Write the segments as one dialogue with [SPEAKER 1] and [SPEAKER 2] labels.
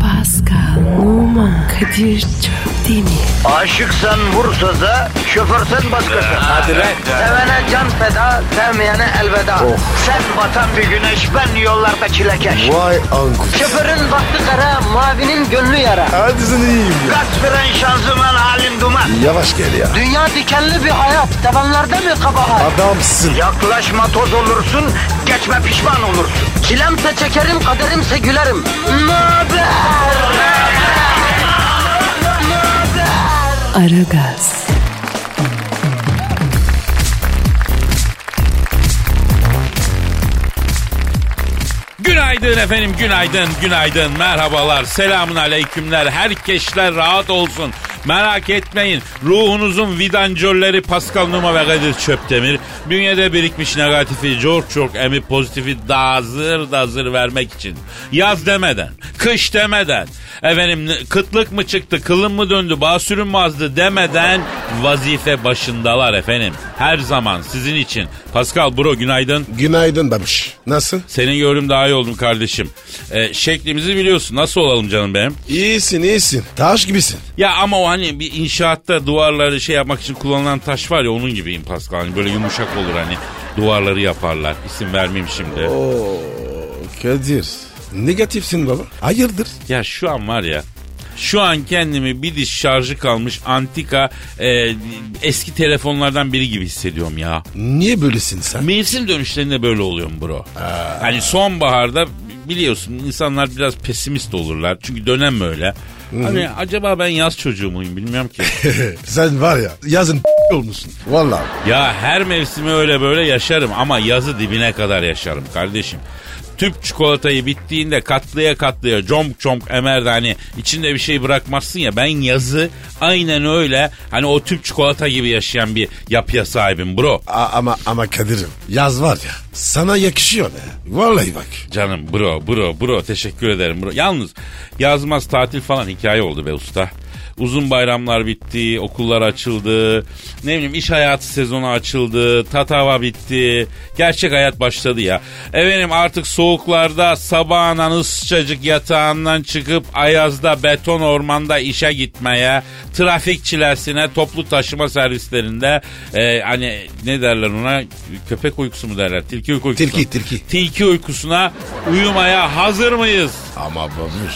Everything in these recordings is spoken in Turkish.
[SPEAKER 1] Pascal, Oman, Kadir çok değil mi?
[SPEAKER 2] Aşıksan vursa da şoförsen başkasın. Hadi
[SPEAKER 3] lan. Oh.
[SPEAKER 2] Sevene can feda, sevmeyene elveda. Sen batan bir güneş, ben yollarda çilekeş.
[SPEAKER 3] Vay anku.
[SPEAKER 2] Şoförün baktı kara, mavinin gönlü yara.
[SPEAKER 3] Hadi sen iyiyim ya.
[SPEAKER 2] Kasperen şanzıman halin duman.
[SPEAKER 3] Yavaş gel ya.
[SPEAKER 2] Dünya dikenli bir hayat, sevenlerde mi kabahar?
[SPEAKER 3] Adamsın.
[SPEAKER 2] Yaklaşma toz olursun, geçme pişman olursun. Çilemse çekerim, kaderimse gülerim. Möber!
[SPEAKER 1] Aragaz,
[SPEAKER 4] Günaydın efendim, günaydın, günaydın. Merhabalar, selamun aleykümler. Herkesler rahat olsun. Merak etmeyin. Ruhunuzun vidancörleri Pascal Numa ve Kadir Çöptemir. Bünyede birikmiş negatifi çok çok emip pozitifi dazır dazır vermek için. Yaz demeden, kış demeden, efendim kıtlık mı çıktı, kılın mı döndü, basürün mü azdı demeden vazife başındalar efendim. Her zaman sizin için. Pascal Bro günaydın.
[SPEAKER 3] Günaydın babiş. Nasıl?
[SPEAKER 4] Seni gördüm daha iyi oldum kardeşim. Ee, şeklimizi biliyorsun. Nasıl olalım canım benim?
[SPEAKER 3] İyisin iyisin. Taş gibisin.
[SPEAKER 4] Ya ama o hani bir inşaatta duvarları şey yapmak için kullanılan taş var ya onun gibiyim Pascal. Hani böyle yumuşak olur hani. Duvarları yaparlar. İsim vermeyeyim şimdi.
[SPEAKER 3] Kadir. Negatifsin baba. Hayırdır?
[SPEAKER 4] Ya şu an var ya. Şu an kendimi bir diş şarjı kalmış antika e, eski telefonlardan biri gibi hissediyorum ya.
[SPEAKER 3] Niye böylesin sen?
[SPEAKER 4] Mevsim dönüşlerinde böyle oluyor mu bro? Hani sonbaharda biliyorsun insanlar biraz pesimist olurlar. Çünkü dönem öyle. Hani acaba ben yaz çocuğu muyum bilmiyorum ki.
[SPEAKER 3] sen var ya yazın olmuşsun. Vallahi.
[SPEAKER 4] ya her mevsimi öyle böyle yaşarım ama yazı dibine kadar yaşarım kardeşim. Tüp çikolatayı bittiğinde katlıya katlıya comk comk emerdi hani içinde bir şey bırakmazsın ya ben yazı aynen öyle hani o tüp çikolata gibi yaşayan bir yapıya sahibim bro.
[SPEAKER 3] A- ama ama Kadir'im yaz var ya sana yakışıyor be. Vallahi bak.
[SPEAKER 4] Canım bro bro bro teşekkür ederim bro. Yalnız yazmaz tatil falan hikaye oldu be usta. Uzun bayramlar bitti, okullar açıldı, ne bileyim iş hayatı sezonu açıldı, tatava bitti, gerçek hayat başladı ya. Efendim artık soğuklarda sabahından ısıcacık yatağından çıkıp ayazda beton ormanda işe gitmeye, trafik çilesine, toplu taşıma servislerinde e, hani ne derler ona köpek uykusu mu derler, tilki uykusu.
[SPEAKER 3] Tilki, tilki.
[SPEAKER 4] Tilki uykusuna uyumaya hazır mıyız?
[SPEAKER 3] Ama babiş.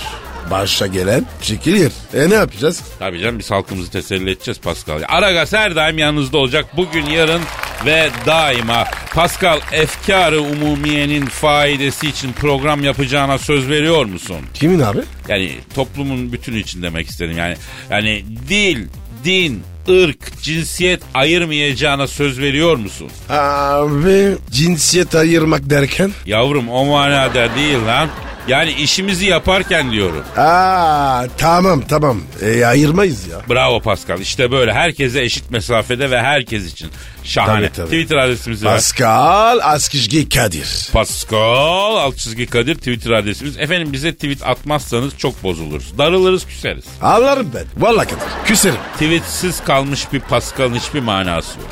[SPEAKER 3] Başa gelen çekilir. E ne yapacağız?
[SPEAKER 4] Tabii canım biz halkımızı teselli edeceğiz Pascal. Aragaz her daim yanınızda olacak. Bugün, yarın ve daima. Pascal efkarı umumiyenin faidesi için program yapacağına söz veriyor musun?
[SPEAKER 3] Kimin abi?
[SPEAKER 4] Yani toplumun bütünü için demek istedim. Yani yani dil, din, ırk, cinsiyet ayırmayacağına söz veriyor musun?
[SPEAKER 3] Abi cinsiyet ayırmak derken?
[SPEAKER 4] Yavrum o manada değil lan. Yani işimizi yaparken diyorum.
[SPEAKER 3] Aa tamam tamam. E, ayırmayız ya.
[SPEAKER 4] Bravo Pascal. İşte böyle herkese eşit mesafede ve herkes için. Şahane.
[SPEAKER 3] Tabii, tabii.
[SPEAKER 4] Twitter adresimiz var.
[SPEAKER 3] Pascal Askizgi Kadir.
[SPEAKER 4] Pascal alt çizgi Kadir Twitter adresimiz. Efendim bize tweet atmazsanız çok bozuluruz. Darılırız küseriz.
[SPEAKER 3] Ağlarım ben. Vallahi Kadir. Küserim.
[SPEAKER 4] Tweetsiz kalmış bir Pascal'ın hiçbir manası yok.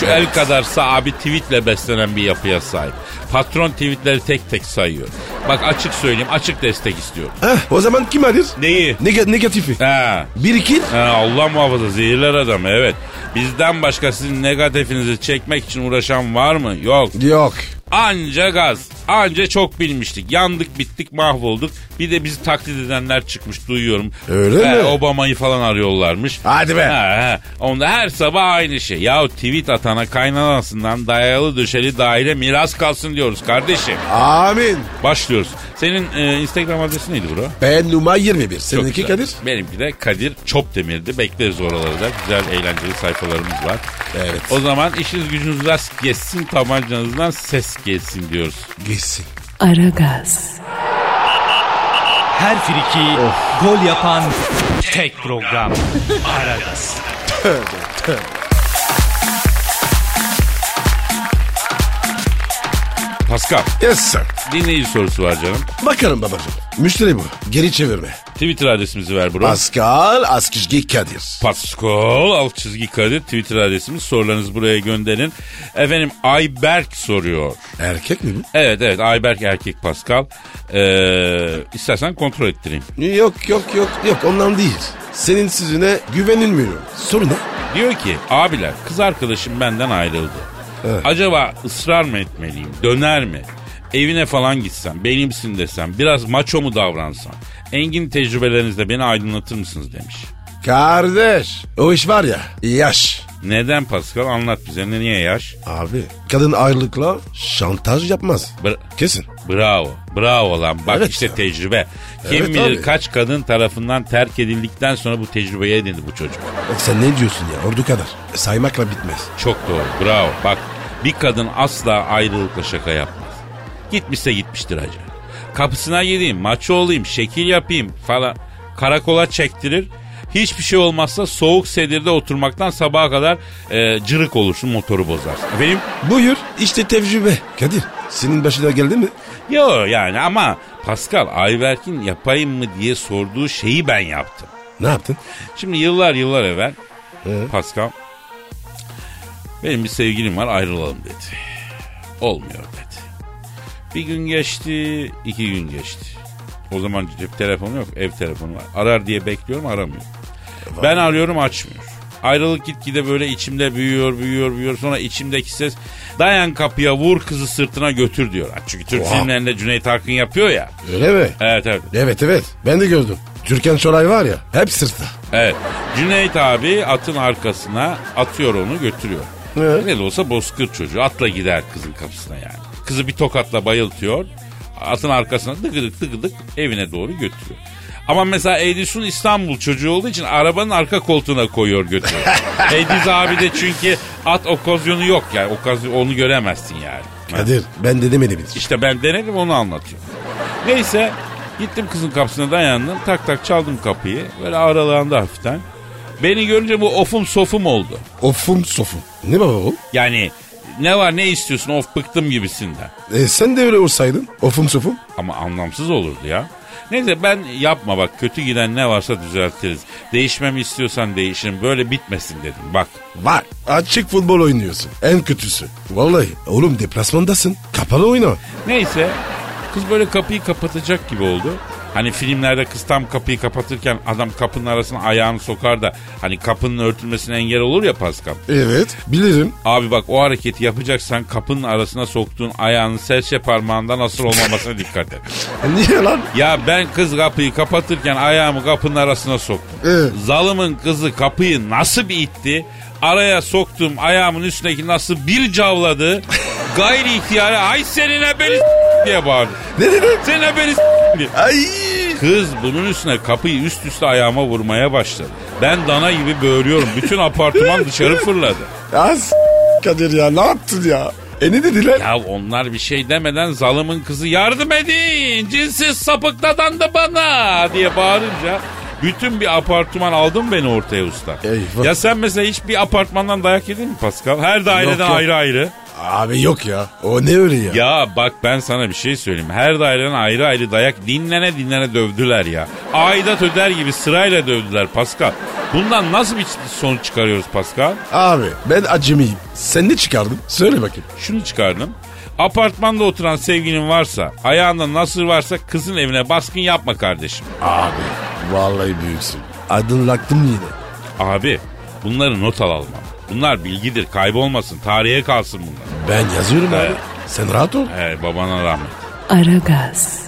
[SPEAKER 4] Şu el kadarsa abi tweetle beslenen bir yapıya sahip. Patron tweetleri tek tek sayıyor. Bak açık söyleyeyim açık destek istiyorum.
[SPEAKER 3] Heh, o zaman kim arıyor?
[SPEAKER 4] Neyi?
[SPEAKER 3] Neg- negatifi.
[SPEAKER 4] Ha.
[SPEAKER 3] Bir iki.
[SPEAKER 4] Ha, Allah muhafaza zehirler adam evet. Bizden başka sizin negatifinizi çekmek için uğraşan var mı? Yok.
[SPEAKER 3] Yok.
[SPEAKER 4] Anca gaz. Anca çok bilmiştik. Yandık bittik mahvolduk. Bir de bizi taklit edenler çıkmış duyuyorum.
[SPEAKER 3] Öyle
[SPEAKER 4] Ha,
[SPEAKER 3] mi?
[SPEAKER 4] Obama'yı falan arıyorlarmış.
[SPEAKER 3] Hadi be.
[SPEAKER 4] Ha, ha. Onda her sabah aynı şey. Yahu tweet atana kaynanasından dayalı döşeli daire miras kalsın diyoruz kardeşim.
[SPEAKER 3] Amin.
[SPEAKER 4] Başlıyoruz. Senin e, Instagram adresi neydi bro?
[SPEAKER 3] Ben numara 21.
[SPEAKER 4] Çok
[SPEAKER 3] Seninki
[SPEAKER 4] güzel.
[SPEAKER 3] Kadir?
[SPEAKER 4] Benimki de Kadir Çopdemir'di. Bekleriz oraları da. Güzel eğlenceli sayfalarımız var.
[SPEAKER 3] Evet.
[SPEAKER 4] O zaman işiniz gücünüz rast geçsin tabancanızdan ses gelsin diyoruz.
[SPEAKER 3] Gitsin.
[SPEAKER 1] Aragaz,
[SPEAKER 5] Her friki gol yapan tek program. Aragaz.
[SPEAKER 4] Pascal
[SPEAKER 3] Yes sir.
[SPEAKER 4] dinleyici sorusu var canım.
[SPEAKER 3] Bakarım babacığım. Müşteri bu. Geri çevirme.
[SPEAKER 4] Twitter adresimizi ver bro.
[SPEAKER 3] Pascal Askizgi Kadir.
[SPEAKER 4] Pascal alt çizgi Kadir Twitter adresimiz sorularınızı buraya gönderin. Efendim Ayberk soruyor.
[SPEAKER 3] Erkek mi
[SPEAKER 4] Evet evet Ayberk erkek Pascal. Ee, istersen kontrol ettireyim.
[SPEAKER 3] bu? Yok yok yok yok ondan değil. Senin sözüne güvenilmiyor. Soru ne?
[SPEAKER 4] Diyor ki abiler kız arkadaşım benden ayrıldı. Acaba ısrar mı etmeliyim? Döner mi? Evine falan gitsem, benimsin desem, biraz maço mu davransam? Engin tecrübelerinizle beni aydınlatır mısınız demiş.
[SPEAKER 3] Kardeş o iş var ya yaş.
[SPEAKER 4] Neden Pascal? Anlat bize. Ne- Niye yaş?
[SPEAKER 3] Abi kadın ayrılıkla şantaj yapmaz.
[SPEAKER 4] Bır-
[SPEAKER 3] Kesin.
[SPEAKER 4] Bravo. Bravo lan. Bak
[SPEAKER 3] Evet
[SPEAKER 4] işte
[SPEAKER 3] ya.
[SPEAKER 4] tecrübe. Kim
[SPEAKER 3] Evet
[SPEAKER 4] bilir
[SPEAKER 3] abi.
[SPEAKER 4] kaç kadın tarafından terk edildikten sonra bu tecrübeye edindi bu çocuk.
[SPEAKER 3] Bak Sen ne diyorsun ya ordu kadar. E, Saymakla bitmez.
[SPEAKER 4] Çok doğru. Bravo. Bak bir kadın asla ayrılıkla şaka yapmaz. Gitmişse gitmiştir hacı. Kapısına gideyim, maçı olayım, şekil yapayım falan. Karakola çektirir. Hiçbir şey olmazsa soğuk sedirde oturmaktan sabaha kadar e, cırık olursun motoru bozarsın. Benim
[SPEAKER 3] Buyur işte tecrübe. Kadir senin başına geldi mi?
[SPEAKER 4] Yo yani ama Pascal Ayberk'in yapayım mı diye sorduğu şeyi ben yaptım.
[SPEAKER 3] Ne yaptın?
[SPEAKER 4] Şimdi yıllar yıllar evvel Pascal benim bir sevgilim var ayrılalım dedi. Olmuyor dedi. Bir gün geçti, iki gün geçti. O zaman cep telefonu yok, ev telefonu var. Arar diye bekliyorum aramıyor. Ben arıyorum açmıyor. Ayrılık gitgide böyle içimde büyüyor, büyüyor, büyüyor. Sonra içimdeki ses dayan kapıya vur kızı sırtına götür diyor. Çünkü Türk
[SPEAKER 3] Oha.
[SPEAKER 4] filmlerinde Cüneyt Arkın yapıyor ya.
[SPEAKER 3] Öyle mi?
[SPEAKER 4] Evet evet.
[SPEAKER 3] Evet evet ben de gördüm. Türkan Şoray var ya hep sırtta.
[SPEAKER 4] Evet. Cüneyt abi atın arkasına atıyor onu götürüyor.
[SPEAKER 3] Evet.
[SPEAKER 4] Ne de olsa bozkır çocuğu. Atla gider kızın kapısına yani. Kızı bir tokatla bayıltıyor. Atın arkasına dıgıdık dıgıdık evine doğru götürüyor. Ama mesela Edison İstanbul çocuğu olduğu için arabanın arka koltuğuna koyuyor götürüyor. Ediz abi de çünkü at okazyonu yok yani. Okazyon, onu göremezsin yani.
[SPEAKER 3] Kadir ben de demedim hiç.
[SPEAKER 4] İşte ben denedim onu anlatıyorum. Neyse gittim kızın kapısına dayandım. Tak tak çaldım kapıyı. Böyle aralandı hafiften. Beni görünce bu ofum sofum oldu.
[SPEAKER 3] Ofum sofum. Ne baba o?
[SPEAKER 4] Yani ne var ne istiyorsun of bıktım gibisinden.
[SPEAKER 3] E, sen de öyle olsaydın ofum sofum.
[SPEAKER 4] Ama anlamsız olurdu ya. Neyse ben yapma bak kötü giden ne varsa düzeltiriz. Değişmemi istiyorsan değişirim böyle bitmesin dedim bak.
[SPEAKER 3] Var. Açık futbol oynuyorsun. En kötüsü. Vallahi oğlum deplasmandasın. Kapalı oyna.
[SPEAKER 4] Neyse kız böyle kapıyı kapatacak gibi oldu. Hani filmlerde kız tam kapıyı kapatırken adam kapının arasına ayağını sokar da hani kapının örtülmesine engel olur ya Pascal.
[SPEAKER 3] Evet bilirim.
[SPEAKER 4] Abi bak o hareketi yapacaksan kapının arasına soktuğun ayağının serçe parmağından asıl olmamasına dikkat et.
[SPEAKER 3] E, Niye lan?
[SPEAKER 4] Ya ben kız kapıyı kapatırken ayağımı kapının arasına soktum.
[SPEAKER 3] Evet.
[SPEAKER 4] Zalımın kızı kapıyı nasıl bir itti? Araya soktum ayağımın üstündeki nasıl bir cavladı? Gayri ihtiyare ay senin haberi s- diye bağırdı.
[SPEAKER 3] Ne dedin?
[SPEAKER 4] Senin haberi s- diye.
[SPEAKER 3] Ay.
[SPEAKER 4] Kız bunun üstüne kapıyı üst üste ayağıma vurmaya başladı. Ben dana gibi böğürüyorum. Bütün apartman dışarı fırladı.
[SPEAKER 3] Az. Kadir ya ne yaptın ya? E ne dediler?
[SPEAKER 4] Ya onlar bir şey demeden zalımın kızı yardım edin cinsiz sapık dadandı bana diye bağırınca bütün bir apartman aldın beni ortaya usta.
[SPEAKER 3] Eyvah.
[SPEAKER 4] Ya sen mesela hiç bir apartmandan dayak yedin mi Pascal? Her daireden
[SPEAKER 3] Yok, yok.
[SPEAKER 4] ayrı ayrı.
[SPEAKER 3] Abi yok ya. O ne öyle ya?
[SPEAKER 4] Ya bak ben sana bir şey söyleyeyim. Her daireden ayrı ayrı dayak dinlene dinlene dövdüler ya. Aidat öder gibi sırayla dövdüler Pascal. Bundan nasıl bir sonuç çıkarıyoruz Pascal?
[SPEAKER 3] Abi ben acemiyim. Sen ne çıkardın? Söyle bakayım.
[SPEAKER 4] şunu çıkardım. Apartmanda oturan sevgilin varsa, ayağında nasır varsa kızın evine baskın yapma kardeşim.
[SPEAKER 3] Abi vallahi büyüksün. Aydınlattım yine.
[SPEAKER 4] Abi bunları not al alma. Bunlar bilgidir kaybolmasın tarihe kalsın bunlar.
[SPEAKER 3] Ben yazıyorum abi.
[SPEAKER 4] Evet.
[SPEAKER 3] Sen rahat ol.
[SPEAKER 4] He babana rahmet.
[SPEAKER 1] Aragaz,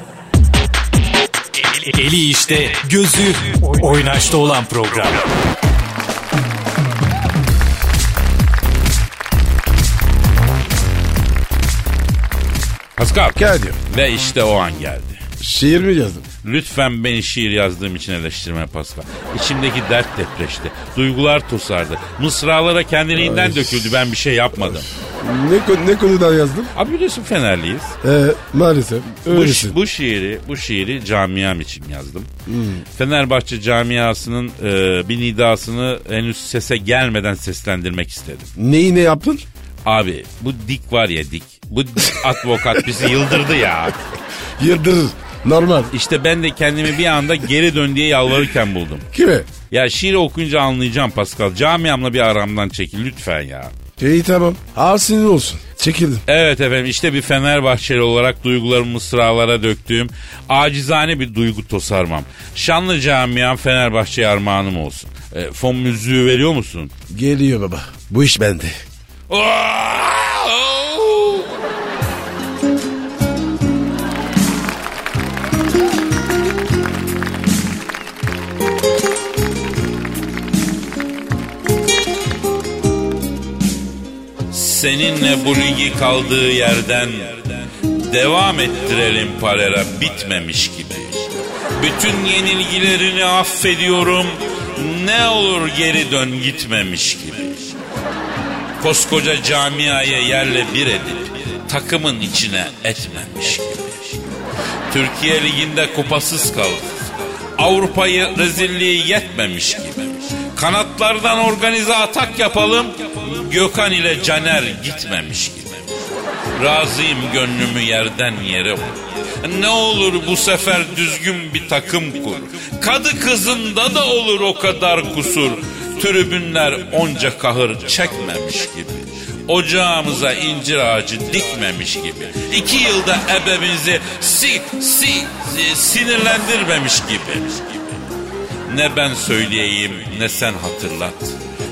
[SPEAKER 5] Eli işte, gözü oynaşta olan program.
[SPEAKER 4] Pascal.
[SPEAKER 3] Kadir.
[SPEAKER 4] Ve işte o an geldi.
[SPEAKER 3] Şiir mi yazdın?
[SPEAKER 4] Lütfen beni şiir yazdığım için eleştirme Pascal. İçimdeki dert depreşti. Duygular tosardı. Mısralara kendiliğinden
[SPEAKER 3] Ay.
[SPEAKER 4] döküldü ben bir şey yapmadım.
[SPEAKER 3] Ne, konu- ne konudan yazdın?
[SPEAKER 4] Abi biliyorsun Fenerliyiz.
[SPEAKER 3] Ee, maalesef.
[SPEAKER 4] bu,
[SPEAKER 3] Öylesin.
[SPEAKER 4] şi- bu şiiri bu şiiri camiam için yazdım. Fenerbahçe camiasının e, bir nidasını henüz sese gelmeden seslendirmek istedim.
[SPEAKER 3] Neyi ne yaptın?
[SPEAKER 4] Abi bu dik var ya dik. Bu advokat bizi yıldırdı ya.
[SPEAKER 3] Yıldırır. Normal.
[SPEAKER 4] İşte ben de kendimi bir anda geri dön diye yalvarırken buldum.
[SPEAKER 3] Kime?
[SPEAKER 4] Ya şiir okuyunca anlayacağım Pascal. Camiamla bir aramdan çekil lütfen ya.
[SPEAKER 3] İyi tamam. Ağır sinir olsun. Çekildim.
[SPEAKER 4] Evet efendim işte bir Fenerbahçeli olarak duygularımı mısralara döktüğüm acizane bir duygu tosarmam. Şanlı camiam Fenerbahçe armağanım olsun. E, fon müziği veriyor musun?
[SPEAKER 3] Geliyor baba. Bu iş bende.
[SPEAKER 4] Seninle bu ligi kaldığı yerden devam ettirelim parera bitmemiş gibi. Bütün yenilgilerini affediyorum. Ne olur geri dön gitmemiş gibi. Koskoca camiaya yerle bir edip takımın içine etmemiş gibi. Türkiye Ligi'nde kupasız kaldı. Avrupa'yı rezilliği yetmemiş gibi. Kanatlardan organize atak yapalım. Gökhan ile Caner gitmemiş gibi. Razıyım gönlümü yerden yere vur. Ne olur bu sefer düzgün bir takım kur. Kadı kızında da olur o kadar kusur. Tribünler onca kahır çekmemiş gibi. Ocağımıza incir ağacı dikmemiş gibi. İki yılda ebemizi si, si, si- sinirlendirmemiş gibi. Ne ben söyleyeyim ne sen hatırlat.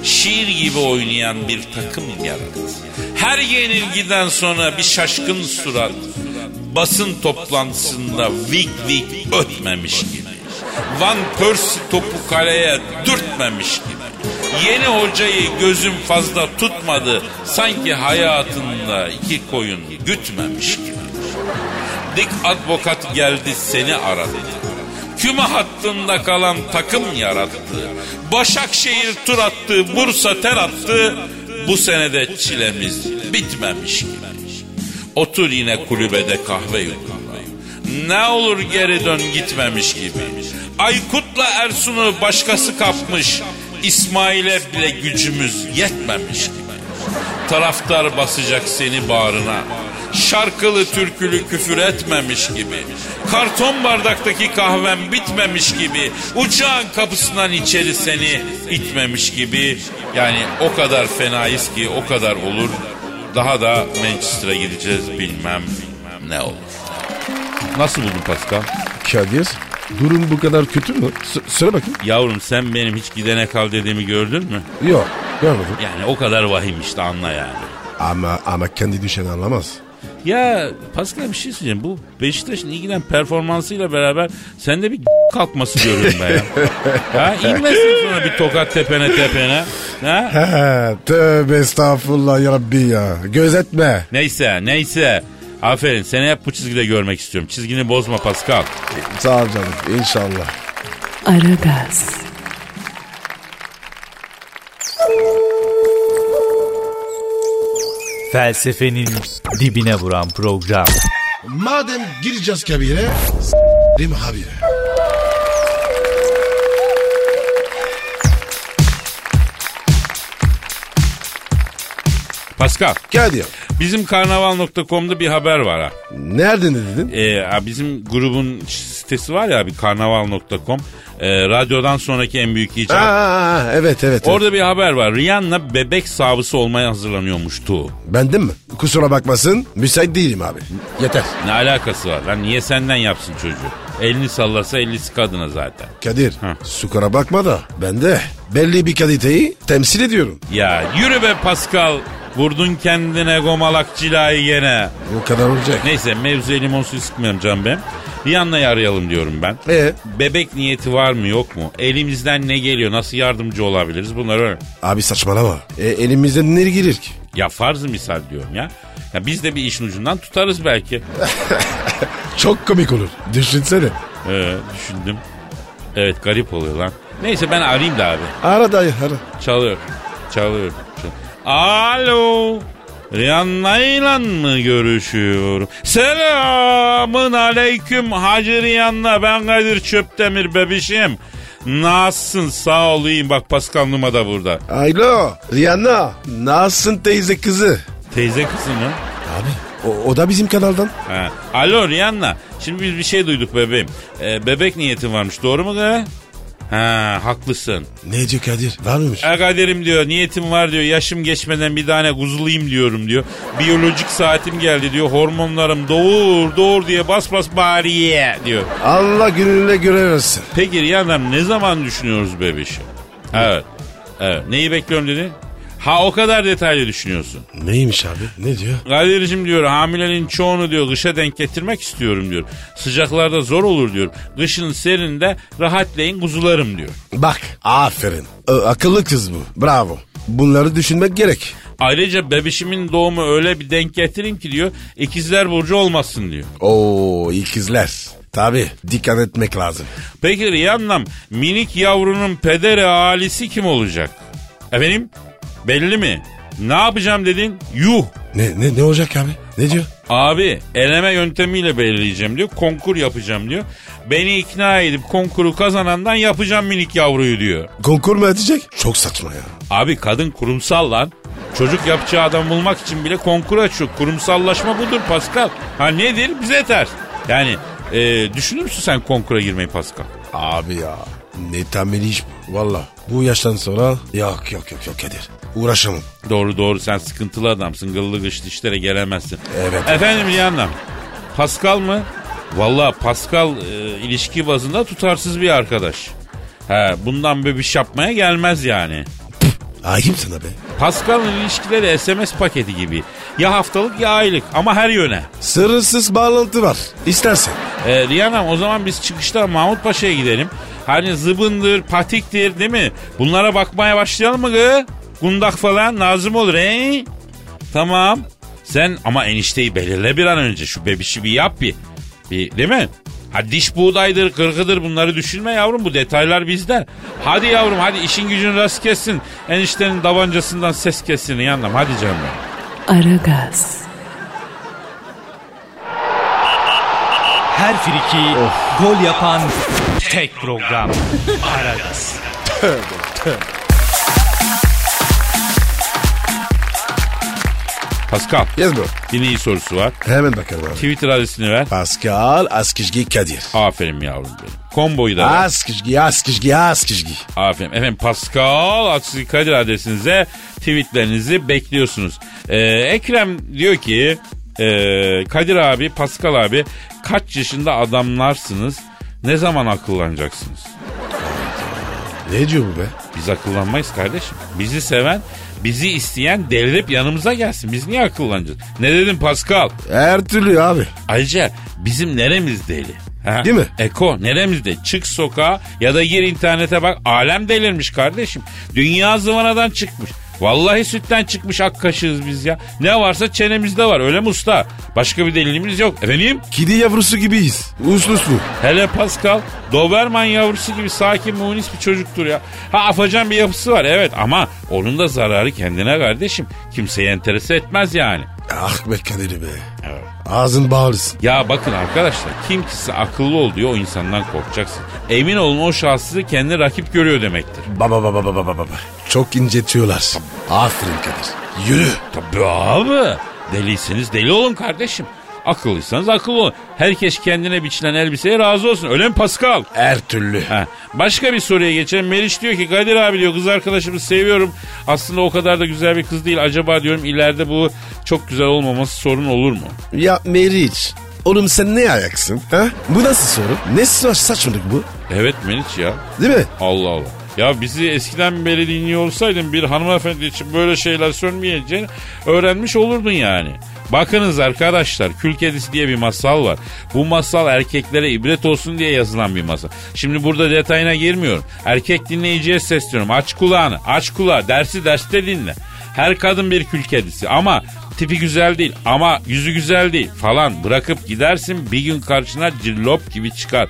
[SPEAKER 4] Şiir gibi oynayan bir takım yarat. Her yenilgiden sonra bir şaşkın surat. Basın toplantısında vik vik ötmemiş gibi. Van Persie topu kaleye dürtmemiş gibi. Yeni hocayı gözüm fazla tutmadı. Sanki hayatında iki koyun gütmemiş gibi. Dik advokat geldi seni aradı. Küme hattında kalan takım yarattı. Başakşehir tur attı, Bursa ter attı. Bu senede çilemiz bitmemiş gibi. Otur yine kulübede kahve yudumla. Ne olur geri dön gitmemiş gibi. Aykut'la Ersun'u başkası kapmış. İsmail'e bile gücümüz yetmemiş gibi. Taraftar basacak seni bağrına. Şarkılı türkülü küfür etmemiş gibi. Karton bardaktaki kahven bitmemiş gibi. Uçağın kapısından içeri seni itmemiş gibi. Yani o kadar fenayız ki o kadar olur. Daha da Manchester'a gideceğiz bilmem ne olur. Nasıl buldun Pascal?
[SPEAKER 3] Kadir durum bu kadar kötü mü? S- söyle bakayım.
[SPEAKER 4] Yavrum sen benim hiç gidene kal dediğimi gördün mü?
[SPEAKER 3] Yok. Görmedim.
[SPEAKER 4] Yani o kadar vahim işte anla yani.
[SPEAKER 3] Ama ama kendi düşen anlamaz.
[SPEAKER 4] Ya Pascal bir şey söyleyeceğim. Bu Beşiktaş'ın ilgilen performansıyla beraber sende bir kalkması görüyorum ben ya. ha, inmesin sonra bir tokat tepene tepene. Ha?
[SPEAKER 3] He, tövbe estağfurullah ya Rabbi ya. Gözetme.
[SPEAKER 4] Neyse neyse. Aferin seni hep bu çizgide görmek istiyorum. Çizgini bozma Pascal.
[SPEAKER 3] Sağ ol canım inşallah.
[SPEAKER 1] Aragaz,
[SPEAKER 5] Felsefenin dibine vuran program.
[SPEAKER 3] Madem gireceğiz kabire, s**rim habire.
[SPEAKER 4] Pascal
[SPEAKER 3] Kadir,
[SPEAKER 4] bizim karnaval.com'da bir haber var ha.
[SPEAKER 3] nereden dedin?
[SPEAKER 4] Ee, ha, bizim grubun sitesi var ya abi karnaval.com. Ee, radyodan sonraki en büyük icat.
[SPEAKER 3] Aa, evet evet. Orada...
[SPEAKER 4] Orada bir haber var. Rihanna bebek savcısı olmaya hazırlanıyormuştu.
[SPEAKER 3] Bendim mi? Kusura bakmasın, müsait değilim abi. Yeter.
[SPEAKER 4] Ne alakası var lan? Niye senden yapsın çocuğu? Elini sallasa ellisi kadına zaten.
[SPEAKER 3] Kadir,
[SPEAKER 4] Ha.
[SPEAKER 3] sukara bakma da ben de belli bir kaliteyi temsil ediyorum.
[SPEAKER 4] Ya yürü be Pascal. Vurdun kendine gomalak cilayı gene.
[SPEAKER 3] O kadar olacak.
[SPEAKER 4] Neyse mevzuya limon suyu sıkmayalım can ben. Rihanna'yı arayalım diyorum ben.
[SPEAKER 3] Ee?
[SPEAKER 4] Bebek niyeti var mı yok mu? Elimizden ne geliyor? Nasıl yardımcı olabiliriz? Bunları öyle.
[SPEAKER 3] Abi saçmalama. E, elimizde ne girir ki?
[SPEAKER 4] Ya farzı misal diyorum ya. Ya biz de bir işin ucundan tutarız belki.
[SPEAKER 3] Çok komik olur. Düşünsene.
[SPEAKER 4] Ee, düşündüm. Evet garip oluyor lan. Neyse ben arayayım da abi.
[SPEAKER 3] Ara dayı ara.
[SPEAKER 4] Çalıyor. Çalıyor. çalıyor. Alo. Rihanna ile mı görüşüyorum? Selamın aleyküm Hacı Rihanna. Ben Kadir Çöptemir bebişim. Nasılsın sağ olayım. Bak Pascal Numa da burada.
[SPEAKER 3] Alo Rihanna. Nasılsın teyze kızı?
[SPEAKER 4] Teyze kızı mı?
[SPEAKER 3] Abi O, o da bizim kanaldan.
[SPEAKER 4] Ha. Alo Rihanna. Şimdi biz bir şey duyduk bebeğim. Ee, bebek niyetin varmış doğru mu kız? Ha haklısın.
[SPEAKER 3] Ne diyor Kadir? Var mıymış?
[SPEAKER 4] E kaderim diyor niyetim var diyor yaşım geçmeden bir tane kuzulayım diyorum diyor. Biyolojik saatim geldi diyor hormonlarım doğur doğur diye bas bas bariye diyor.
[SPEAKER 3] Allah gününe göre versin.
[SPEAKER 4] Peki Rihanna ne zaman düşünüyoruz bebişi? Evet. evet. Neyi bekliyorum dedi? Ha o kadar detaylı düşünüyorsun.
[SPEAKER 3] Neymiş abi? Ne diyor?
[SPEAKER 4] Kadir'cim diyor hamilenin çoğunu diyor kışa denk getirmek istiyorum diyor. Sıcaklarda zor olur diyor. Kışın serinde rahatlayın kuzularım diyor.
[SPEAKER 3] Bak aferin. Ö, akıllı kız bu. Bravo. Bunları düşünmek gerek.
[SPEAKER 4] Ayrıca bebişimin doğumu öyle bir denk getirin ki diyor ikizler burcu olmasın diyor.
[SPEAKER 3] Oo ikizler. Tabi dikkat etmek lazım.
[SPEAKER 4] Peki Rihanna'm minik yavrunun pederi ailesi kim olacak? Efendim belli mi? Ne yapacağım dedin? Yuh
[SPEAKER 3] Ne ne ne olacak abi? Ne diyor?
[SPEAKER 4] Abi eleme yöntemiyle belirleyeceğim diyor. Konkur yapacağım diyor. Beni ikna edip konkuru kazanandan yapacağım minik yavruyu diyor.
[SPEAKER 3] Konkur mu edecek? Çok saçma ya.
[SPEAKER 4] Abi kadın kurumsal lan. Çocuk yapacağı adam bulmak için bile konkur açıyor. Kurumsallaşma budur Pascal. Ha nedir? Bize ters. Yani e, düşünür müsün sen konkura girmeyi Pascal?
[SPEAKER 3] Abi ya. Ne tembel iş bu. Valla. Bu yaştan sonra yok yok yok yok Kadir. Uğraşamam.
[SPEAKER 4] Doğru doğru sen sıkıntılı adamsın. Gıllı gışlı işlere gelemezsin.
[SPEAKER 3] Evet.
[SPEAKER 4] Efendim Rihanna. Pascal mı? Valla Pascal e, ilişki bazında tutarsız bir arkadaş. He, bundan böyle bir şey yapmaya gelmez yani.
[SPEAKER 3] Ayıp sana be.
[SPEAKER 4] Pascal'ın ilişkileri SMS paketi gibi. Ya haftalık ya aylık ama her yöne.
[SPEAKER 3] Sırrısız bağlantı var. İstersen.
[SPEAKER 4] E, Rihanna o zaman biz çıkışta Mahmut Paşa'ya gidelim. Hani zıbındır, patiktir değil mi? Bunlara bakmaya başlayalım mı gı? Gundak falan lazım olur he? Tamam. Sen ama enişteyi belirle bir an önce. Şu bebişi bir yap bir. bir değil mi? Ha diş buğdaydır, kırkıdır bunları düşünme yavrum. Bu detaylar bizde. Hadi yavrum hadi işin gücün rast kessin. Eniştenin davancasından ses kessin. Yanlam hadi canım.
[SPEAKER 1] Aragaz,
[SPEAKER 5] Her friki gol yapan tek program. Aragaz.
[SPEAKER 4] Pascal
[SPEAKER 3] Yaz bu.
[SPEAKER 4] dinleyici sorusu var.
[SPEAKER 3] Hemen bakalım abi.
[SPEAKER 4] Twitter adresini ver.
[SPEAKER 3] Pascal Askizgi Kadir.
[SPEAKER 4] Aferin yavrum benim. Komboyu da ver.
[SPEAKER 3] Askizgi Askizgi Askizgi.
[SPEAKER 4] Aferin. Efendim Pascal Askizgi Kadir adresinize tweetlerinizi bekliyorsunuz. Ee, Ekrem diyor ki ee, Kadir abi, Pascal abi kaç yaşında adamlarsınız? Ne zaman akıllanacaksınız?
[SPEAKER 3] Ne diyor bu be?
[SPEAKER 4] Biz akıllanmayız kardeşim. Bizi seven, bizi isteyen devrilip yanımıza gelsin. Biz niye akıllanacağız? Ne dedim Pascal?
[SPEAKER 3] Her türlü abi.
[SPEAKER 4] Ayrıca bizim neremiz deli? Ha?
[SPEAKER 3] Değil mi?
[SPEAKER 4] Eko neremiz deli? Çık sokağa ya da gir internete bak. Alem delirmiş kardeşim. Dünya zıvanadan çıkmış. Vallahi sütten çıkmış ak kaşığız biz ya. Ne varsa çenemizde var öyle mi usta? Başka bir delilimiz yok. Efendim?
[SPEAKER 3] Kedi yavrusu gibiyiz. Uslu uslu.
[SPEAKER 4] Hele Pascal Doberman yavrusu gibi sakin munis bir çocuktur ya. Ha afacan bir yapısı var evet ama onun da zararı kendine kardeşim. Kimseyi enterese etmez yani.
[SPEAKER 3] Ah be Kadir be. Ağzın bağlısın.
[SPEAKER 4] Ya bakın arkadaşlar kim ki size akıllı ol diyor o insandan korkacaksın. Emin olun o şahsı sizi kendi rakip görüyor demektir.
[SPEAKER 3] Baba baba baba baba baba. Çok incetiyorlar. Aferin Kadir. Yürü.
[SPEAKER 4] Tabii abi. Deliyseniz deli olun kardeşim. Akıllıysanız akıllı olun. Herkes kendine biçilen elbiseye razı olsun. Öyle mi Pascal?
[SPEAKER 3] Her türlü.
[SPEAKER 4] Ha, başka bir soruya geçelim. Meriç diyor ki Kadir abi diyor kız arkadaşımı seviyorum. Aslında o kadar da güzel bir kız değil. Acaba diyorum ileride bu çok güzel olmaması sorun olur mu?
[SPEAKER 3] Ya Meriç. Oğlum sen ne ayaksın? Ha? Bu nasıl soru? Ne sa- saçmalık bu?
[SPEAKER 4] Evet Meriç ya.
[SPEAKER 3] Değil mi?
[SPEAKER 4] Allah Allah. Ya bizi eskiden beri dinliyor olsaydın bir hanımefendi için böyle şeyler sönmeyeceğini öğrenmiş olurdun yani. Bakınız arkadaşlar kül kedisi diye bir masal var. Bu masal erkeklere ibret olsun diye yazılan bir masal. Şimdi burada detayına girmiyorum. Erkek dinleyiciye sesleniyorum. Aç kulağını, aç kulağı. Dersi derste dinle. Her kadın bir kül kedisi ama tipi güzel değil ama yüzü güzel değil falan bırakıp gidersin bir gün karşına cillop gibi çıkar.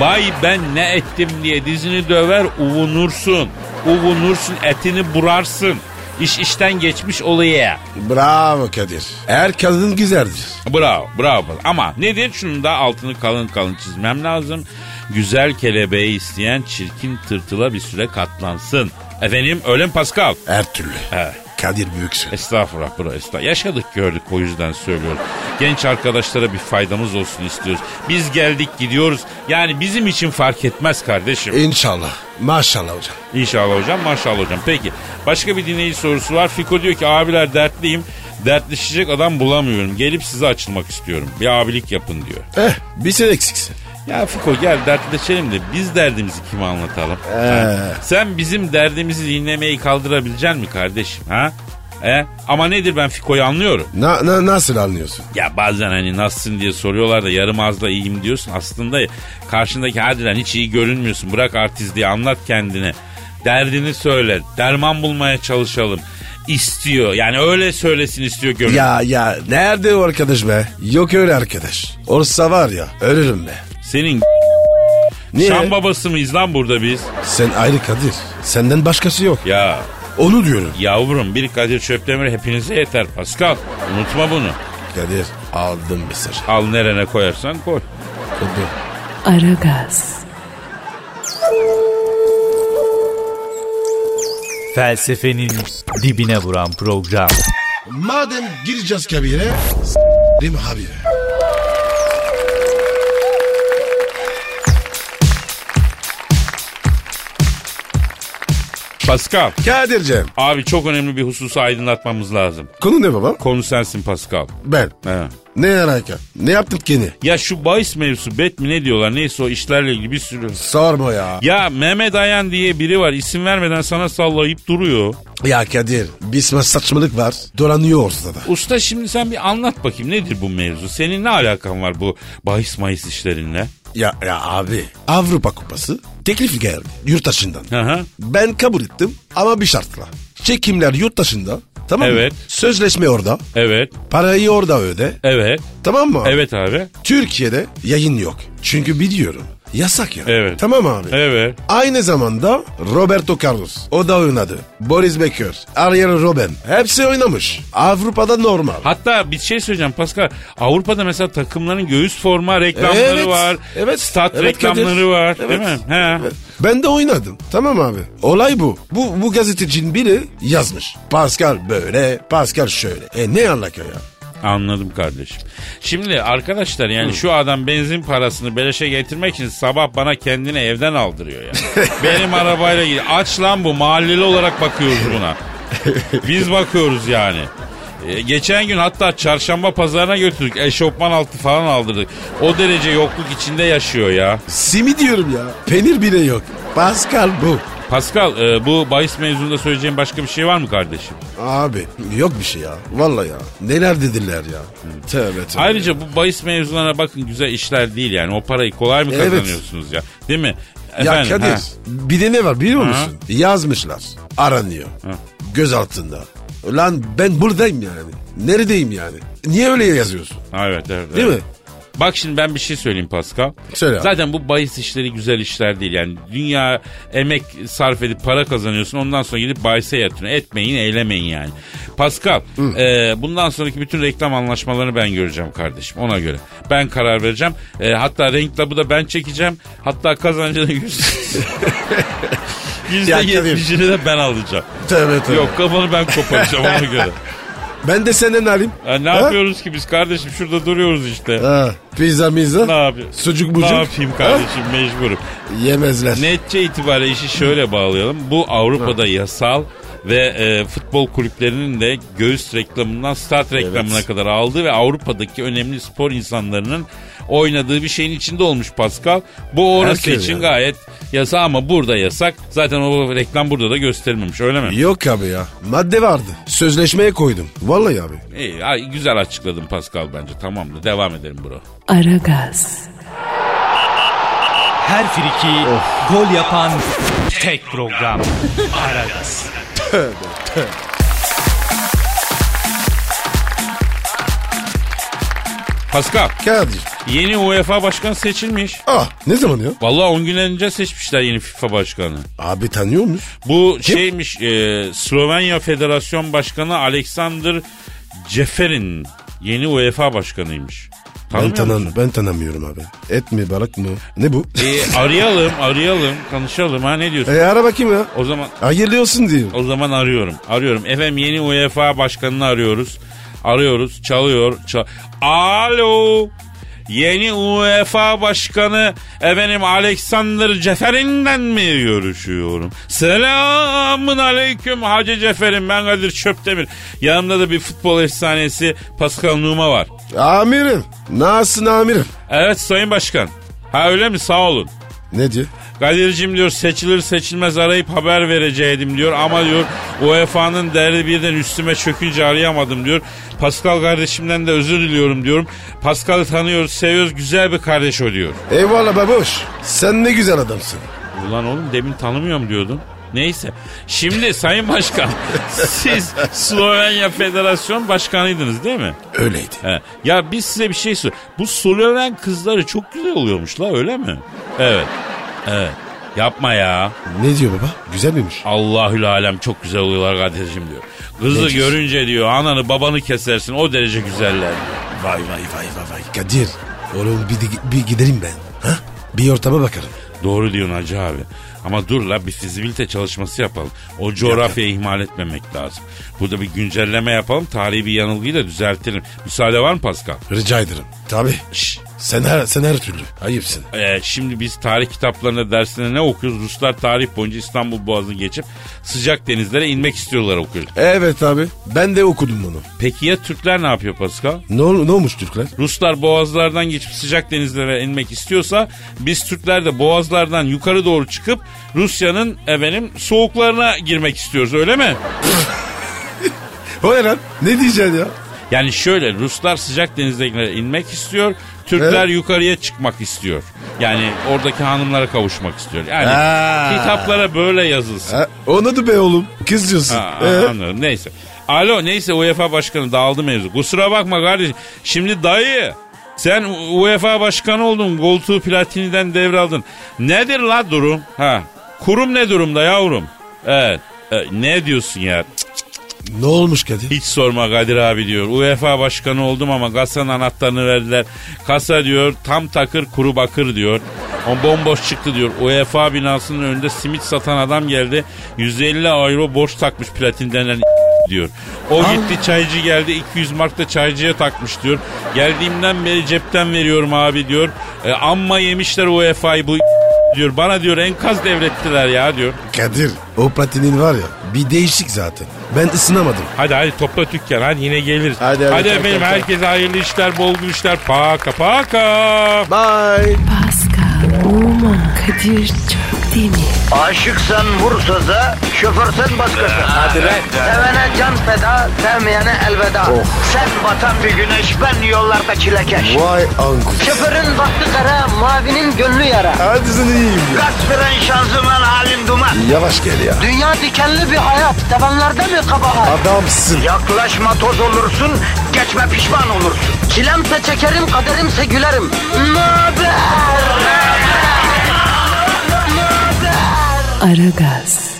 [SPEAKER 4] Bay ben ne ettim diye dizini döver uvunursun. Uvunursun etini burarsın. İş işten geçmiş olayı.
[SPEAKER 3] Bravo Kadir. Her kadın güzeldir.
[SPEAKER 4] Bravo bravo. Ama nedir? Şunun da altını kalın kalın çizmem lazım. Güzel kelebeği isteyen çirkin tırtıla bir süre katlansın. Efendim öyle mi Pascal?
[SPEAKER 3] Her türlü.
[SPEAKER 4] He.
[SPEAKER 3] Kadir büyüksün.
[SPEAKER 4] Estağfurullah bro estağ. Yaşadık gördük o yüzden söylüyorum. Genç arkadaşlara bir faydamız olsun istiyoruz. Biz geldik gidiyoruz. Yani bizim için fark etmez kardeşim.
[SPEAKER 3] İnşallah. Maşallah hocam.
[SPEAKER 4] İnşallah hocam maşallah hocam. Peki başka bir dinleyici sorusu var. Fiko diyor ki abiler dertliyim. Dertleşecek adam bulamıyorum. Gelip size açılmak istiyorum. Bir abilik yapın diyor.
[SPEAKER 3] Eh bir sen eksiksin.
[SPEAKER 4] Ya Fiko gel dertleşelim de biz derdimizi kime anlatalım? Ha? Sen bizim derdimizi dinlemeyi kaldırabilecek mi kardeşim ha? E? Ama nedir ben Fiko'yu anlıyorum.
[SPEAKER 3] Na, na- nasıl anlıyorsun?
[SPEAKER 4] Ya bazen hani nasılsın diye soruyorlar da yarım ağızla iyiyim diyorsun. Aslında karşındaki harbiden hiç iyi görünmüyorsun. Bırak artist diye anlat kendine. Derdini söyle. Derman bulmaya çalışalım. İstiyor. Yani öyle söylesin istiyor gönül.
[SPEAKER 3] Ya ya nerede o arkadaş be? Yok öyle arkadaş. Olsa var ya ölürüm be.
[SPEAKER 4] Senin
[SPEAKER 3] Niye?
[SPEAKER 4] Şam babası mıyız lan burada biz?
[SPEAKER 3] Sen ayrı Kadir. Senden başkası yok.
[SPEAKER 4] Ya
[SPEAKER 3] Onu diyorum.
[SPEAKER 4] Yavrum bir Kadir Çöpdemir hepinize yeter Pascal. Unutma bunu.
[SPEAKER 3] Kadir aldım mesajı.
[SPEAKER 4] Al nerene koyarsan koy.
[SPEAKER 3] Kudu.
[SPEAKER 1] Aragaz,
[SPEAKER 5] Felsefenin dibine vuran program.
[SPEAKER 3] Madem gireceğiz kabire s**rim habire.
[SPEAKER 4] Pascal.
[SPEAKER 3] Kadir'cim
[SPEAKER 4] Abi çok önemli bir hususu aydınlatmamız lazım.
[SPEAKER 3] konu ne baba?
[SPEAKER 4] Konu sensin Pascal.
[SPEAKER 3] Ben.
[SPEAKER 4] He.
[SPEAKER 3] Ne alaka? Ne yaptın kendi?
[SPEAKER 4] Ya şu bahis mevzusu bet mi ne diyorlar neyse o işlerle ilgili bir sürü.
[SPEAKER 3] Sorma ya.
[SPEAKER 4] Ya Mehmet Ayan diye biri var isim vermeden sana sallayıp duruyor.
[SPEAKER 3] Ya Kadir bir sma- saçmalık var. Dolanıyor ortada.
[SPEAKER 4] Usta şimdi sen bir anlat bakayım nedir bu mevzu? Senin ne alakan var bu bahis mayıs işlerinle?
[SPEAKER 3] Ya, ya abi Avrupa Kupası teklif geldi yurt dışından.
[SPEAKER 4] Hı hı.
[SPEAKER 3] Ben kabul ettim ama bir şartla. Çekimler yurt dışında tamam
[SPEAKER 4] Evet.
[SPEAKER 3] mı? Sözleşme orada.
[SPEAKER 4] Evet.
[SPEAKER 3] Parayı orada öde.
[SPEAKER 4] Evet.
[SPEAKER 3] Tamam mı?
[SPEAKER 4] Evet abi.
[SPEAKER 3] Türkiye'de yayın yok. Çünkü biliyorum. Yasak ya.
[SPEAKER 4] Evet.
[SPEAKER 3] Tamam abi.
[SPEAKER 4] Evet.
[SPEAKER 3] Aynı zamanda Roberto Carlos. O da oynadı. Boris Becker. Ariel Robben. Hepsi oynamış. Avrupa'da normal.
[SPEAKER 4] Hatta bir şey söyleyeceğim Pascal. Avrupa'da mesela takımların göğüs forma reklamları
[SPEAKER 3] Evet,
[SPEAKER 4] var.
[SPEAKER 3] evet,
[SPEAKER 4] Stat
[SPEAKER 3] evet
[SPEAKER 4] reklamları
[SPEAKER 3] Kadir.
[SPEAKER 4] var.
[SPEAKER 3] Evet,
[SPEAKER 4] Değil mi? He.
[SPEAKER 3] Evet. Ben de oynadım. Tamam abi. Olay bu. Bu, bu gazetecinin biri yazmış. Pascal böyle, Pascal şöyle. E ne alaka ya?
[SPEAKER 4] Anladım kardeşim. Şimdi arkadaşlar yani şu adam benzin parasını beleşe getirmek için sabah bana kendini evden aldırıyor ya. Benim arabayla gidiyor. Aç lan bu mahalleli olarak bakıyoruz buna. Biz bakıyoruz yani. E, Geçen gün hatta çarşamba pazarına götürdük. Eşofman altı falan aldırdık. O derece yokluk içinde yaşıyor ya.
[SPEAKER 3] Simi diyorum ya. Peynir bile yok. Pascal bu.
[SPEAKER 4] Pascal e, bu bahis mevzunda söyleyeceğin başka bir şey var mı kardeşim?
[SPEAKER 3] Abi yok bir şey ya. Vallahi ya. Neler dediler ya. Tövbe tövbe.
[SPEAKER 4] Ayrıca bu bahis mevzularına bakın güzel işler değil yani. O parayı kolay mı
[SPEAKER 3] Evet.
[SPEAKER 4] kazanıyorsunuz ya? Değil mi?
[SPEAKER 3] Ya
[SPEAKER 4] Efendim,
[SPEAKER 3] Kadir
[SPEAKER 4] ha.
[SPEAKER 3] bir de ne var biliyor
[SPEAKER 4] Ha.
[SPEAKER 3] musun? Yazmışlar. Aranıyor. Göz altında. Lan ben buradayım yani. Neredeyim yani? Niye öyle yazıyorsun?
[SPEAKER 4] Ha, Evet, evet.
[SPEAKER 3] Değil
[SPEAKER 4] evet.
[SPEAKER 3] mi?
[SPEAKER 4] Bak şimdi ben bir şey söyleyeyim Pascal.
[SPEAKER 3] Söyle abi.
[SPEAKER 4] Zaten bu bahis işleri güzel işler değil. Yani dünya emek sarf edip para kazanıyorsun. Ondan sonra gidip bahise yatırıyorsun. Etmeyin, eylemeyin yani. Pascal, e, bundan sonraki bütün reklam anlaşmalarını ben göreceğim kardeşim. Ona göre. Ben karar vereceğim. E, hatta renk labı da ben çekeceğim. Hatta kazancı da yüz...
[SPEAKER 3] Ya Kadir.
[SPEAKER 4] %70'ini de ben alacağım.
[SPEAKER 3] Tövbe tövbe.
[SPEAKER 4] Yok kafanı ben koparacağım ona göre.
[SPEAKER 3] Ben de senden alayım.
[SPEAKER 4] Ya ne
[SPEAKER 3] Ha?
[SPEAKER 4] yapıyoruz ki biz kardeşim? Şurada duruyoruz işte.
[SPEAKER 3] Ha, pizza mizza.
[SPEAKER 4] Ne yapayım?
[SPEAKER 3] Sucuk bucuk.
[SPEAKER 4] Ne yapayım kardeşim mecburum.
[SPEAKER 3] Yemezler.
[SPEAKER 4] Netçe itibariyle işi şöyle bağlayalım. Bu Avrupa'da yasal ve e, futbol kulüplerinin de göğüs reklamından start reklamına kadar aldığı ve Avrupa'daki önemli spor insanlarının oynadığı bir şeyin içinde olmuş Pascal. Bu orası
[SPEAKER 3] Herkes
[SPEAKER 4] için
[SPEAKER 3] yani.
[SPEAKER 4] gayet yasa ama burada yasak. Zaten o reklam burada da gösterilmemiş öyle mi?
[SPEAKER 3] Yok abi ya. Madde vardı. Sözleşmeye koydum. Vallahi abi.
[SPEAKER 4] İyi, ay, güzel açıkladım Pascal bence tamamdır. Devam edelim bro.
[SPEAKER 1] Aragaz,
[SPEAKER 5] Her friki gol yapan tek program. Aragaz.
[SPEAKER 4] Pascal
[SPEAKER 3] Kadir.
[SPEAKER 4] yeni UEFA başkanı seçilmiş.
[SPEAKER 3] Ah ne zaman ya?
[SPEAKER 4] Vallahi 10 gün önce seçmişler yeni FIFA başkanı.
[SPEAKER 3] Abi tanıyor musun?
[SPEAKER 4] Bu şeymiş e, Slovenya Federasyon Başkanı Aleksandr Ceferin yeni UEFA başkanıymış.
[SPEAKER 3] Ben,
[SPEAKER 4] Tanımıyor musun?
[SPEAKER 3] tanım, ben tanımıyorum abi. Et mi balık mı? Ne bu?
[SPEAKER 4] E, arayalım, arayalım, konuşalım ha ne diyorsun?
[SPEAKER 3] E ara bakayım ya.
[SPEAKER 4] O zaman
[SPEAKER 3] Hayırlı olsun diyeyim.
[SPEAKER 4] o zaman arıyorum. Arıyorum. Efendim yeni UEFA başkanını arıyoruz. Arıyoruz, çalıyor. çal- Alo. Yeni UEFA başkanı efendim Alexander Ceferin'den mi görüşüyorum? Selamun aleyküm Hacı Ceferin ben Kadir Çöptemir. Yanımda da bir futbol efsanesi Pascal Numa var.
[SPEAKER 3] Amirim. Nasılsın amirim?
[SPEAKER 4] Evet Sayın Başkan. Ha öyle mi sağ olun.
[SPEAKER 3] Ne diyor?
[SPEAKER 4] Kadir'cim diyor seçilir seçilmez arayıp haber vereceğim diyor ama diyor E UEFA'nın derdi birden üstüme çökünce arayamadım diyor. Pascal kardeşimden de özür diliyorum diyorum. Pascal'ı tanıyoruz seviyoruz güzel bir kardeş o diyor.
[SPEAKER 3] Eyvallah baboş. Sen ne güzel adamsın.
[SPEAKER 4] Ulan oğlum demin tanımıyorum diyordun. Neyse. Şimdi Sayın Başkan siz Slovenya Federasyon Başkanıydınız değil mi?
[SPEAKER 3] Öyleydi.
[SPEAKER 4] He. Ya biz size bir şey sor. Bu Sloven kızları çok güzel oluyormuş la öyle mi? Evet. Evet. Yapma ya.
[SPEAKER 3] Ne diyor baba? Güzel miymiş?
[SPEAKER 4] Allahül alem çok güzel oluyorlar Kadir'cim diyor. Kızı
[SPEAKER 3] Neciz.
[SPEAKER 4] görünce diyor ananı babanı kesersin o derece güzeller.
[SPEAKER 3] Vay vay vay vay vay. Kadir. Oğlum bir, de- bir gidelim ben. Ha? Bir ortama bakarım.
[SPEAKER 4] Doğru diyorsun hacı abi. Ama dur la bir fizibilite çalışması yapalım. O coğrafyayı ihmal etmemek lazım. Burada bir güncelleme yapalım. Tarihi bir yanılgıyı da düzeltelim. Müsaade var mı Pascal?
[SPEAKER 3] Rica ederim. Tabii.
[SPEAKER 4] Şşş.
[SPEAKER 3] Sen her, sen her türlü. Ayıpsın.
[SPEAKER 4] Ee, şimdi biz tarih kitaplarında dersinde ne okuyoruz? Ruslar tarih boyunca İstanbul Boğazı'nı geçip sıcak denizlere inmek istiyorlar okuyoruz.
[SPEAKER 3] Evet abi. Ben de okudum bunu.
[SPEAKER 4] Peki ya Türkler ne yapıyor Pascal?
[SPEAKER 3] Ne, ol- ne olmuş Türkler?
[SPEAKER 4] Ruslar boğazlardan geçip sıcak denizlere inmek istiyorsa biz Türkler de boğazlardan yukarı doğru çıkıp Rusya'nın efendim soğuklarına girmek istiyoruz öyle mi?
[SPEAKER 3] O ne lan? Ne diyeceksin ya?
[SPEAKER 4] Yani şöyle Ruslar sıcak denizlere inmek istiyor. Türkler
[SPEAKER 3] Evet.
[SPEAKER 4] yukarıya çıkmak istiyor. Yani oradaki hanımlara kavuşmak istiyor. Yani
[SPEAKER 3] Ha.
[SPEAKER 4] kitaplara böyle yazılsın.
[SPEAKER 3] Ha, onu da be oğlum. Kız diyorsun.
[SPEAKER 4] Ha,
[SPEAKER 3] Ee,
[SPEAKER 4] anladım neyse. Alo neyse UEFA başkanı dağıldı mevzu. Kusura bakma kardeşim. Şimdi dayı sen U- UEFA başkanı oldun. Koltuğu Platini'den devraldın. Nedir la durum? Ha. Kurum ne durumda yavrum? Evet. E, ne diyorsun ya? Cık,
[SPEAKER 3] ne olmuş Kadir?
[SPEAKER 4] Hiç sorma Kadir abi diyor. UEFA başkanı oldum ama kasanın anahtarını verdiler. Kasa diyor tam takır kuru bakır diyor. O bomboş çıktı diyor. UEFA binasının önünde simit satan adam geldi. 150 euro borç takmış platin denen diyor. O gitti çaycı geldi 200 mark da çaycıya takmış diyor. Geldiğimden beri cepten veriyorum abi diyor. E, amma yemişler UEFA'yı bu diyor. Bana diyor enkaz devrettiler ya diyor.
[SPEAKER 3] Kadir. O platinin var ya bir değişik zaten. Ben ısınamadım.
[SPEAKER 4] Hadi hadi topla dükkan hadi yine geliriz.
[SPEAKER 3] Hadi, hadi, tamam,
[SPEAKER 4] efendim
[SPEAKER 3] tamam.
[SPEAKER 4] herkese hayırlı işler bol gülüşler paka paka.
[SPEAKER 3] Bye.
[SPEAKER 1] Pascal, Oman, Kadir çok değil mi?
[SPEAKER 2] Aşıksan vursa da, şoförsen başkasın. Hadi Sevene can feda, sevmeyene elveda. Sen batan bir güneş, ben yollarda çilekeş.
[SPEAKER 3] Vay anku.
[SPEAKER 2] Şoförün baktı kara, mavinin gönlü yara.
[SPEAKER 3] Hadi sen iyiyim ya.
[SPEAKER 2] Kasperen şanzıman halin duman.
[SPEAKER 3] Yavaş gel ya.
[SPEAKER 2] Dünya dikenli bir hayat, sevenlerde mi kabahar?
[SPEAKER 3] Adamsın.
[SPEAKER 2] Yaklaşma toz olursun, geçme pişman olursun. Çilemse çekerim, kaderimse gülerim. Möber!
[SPEAKER 1] Aragaz.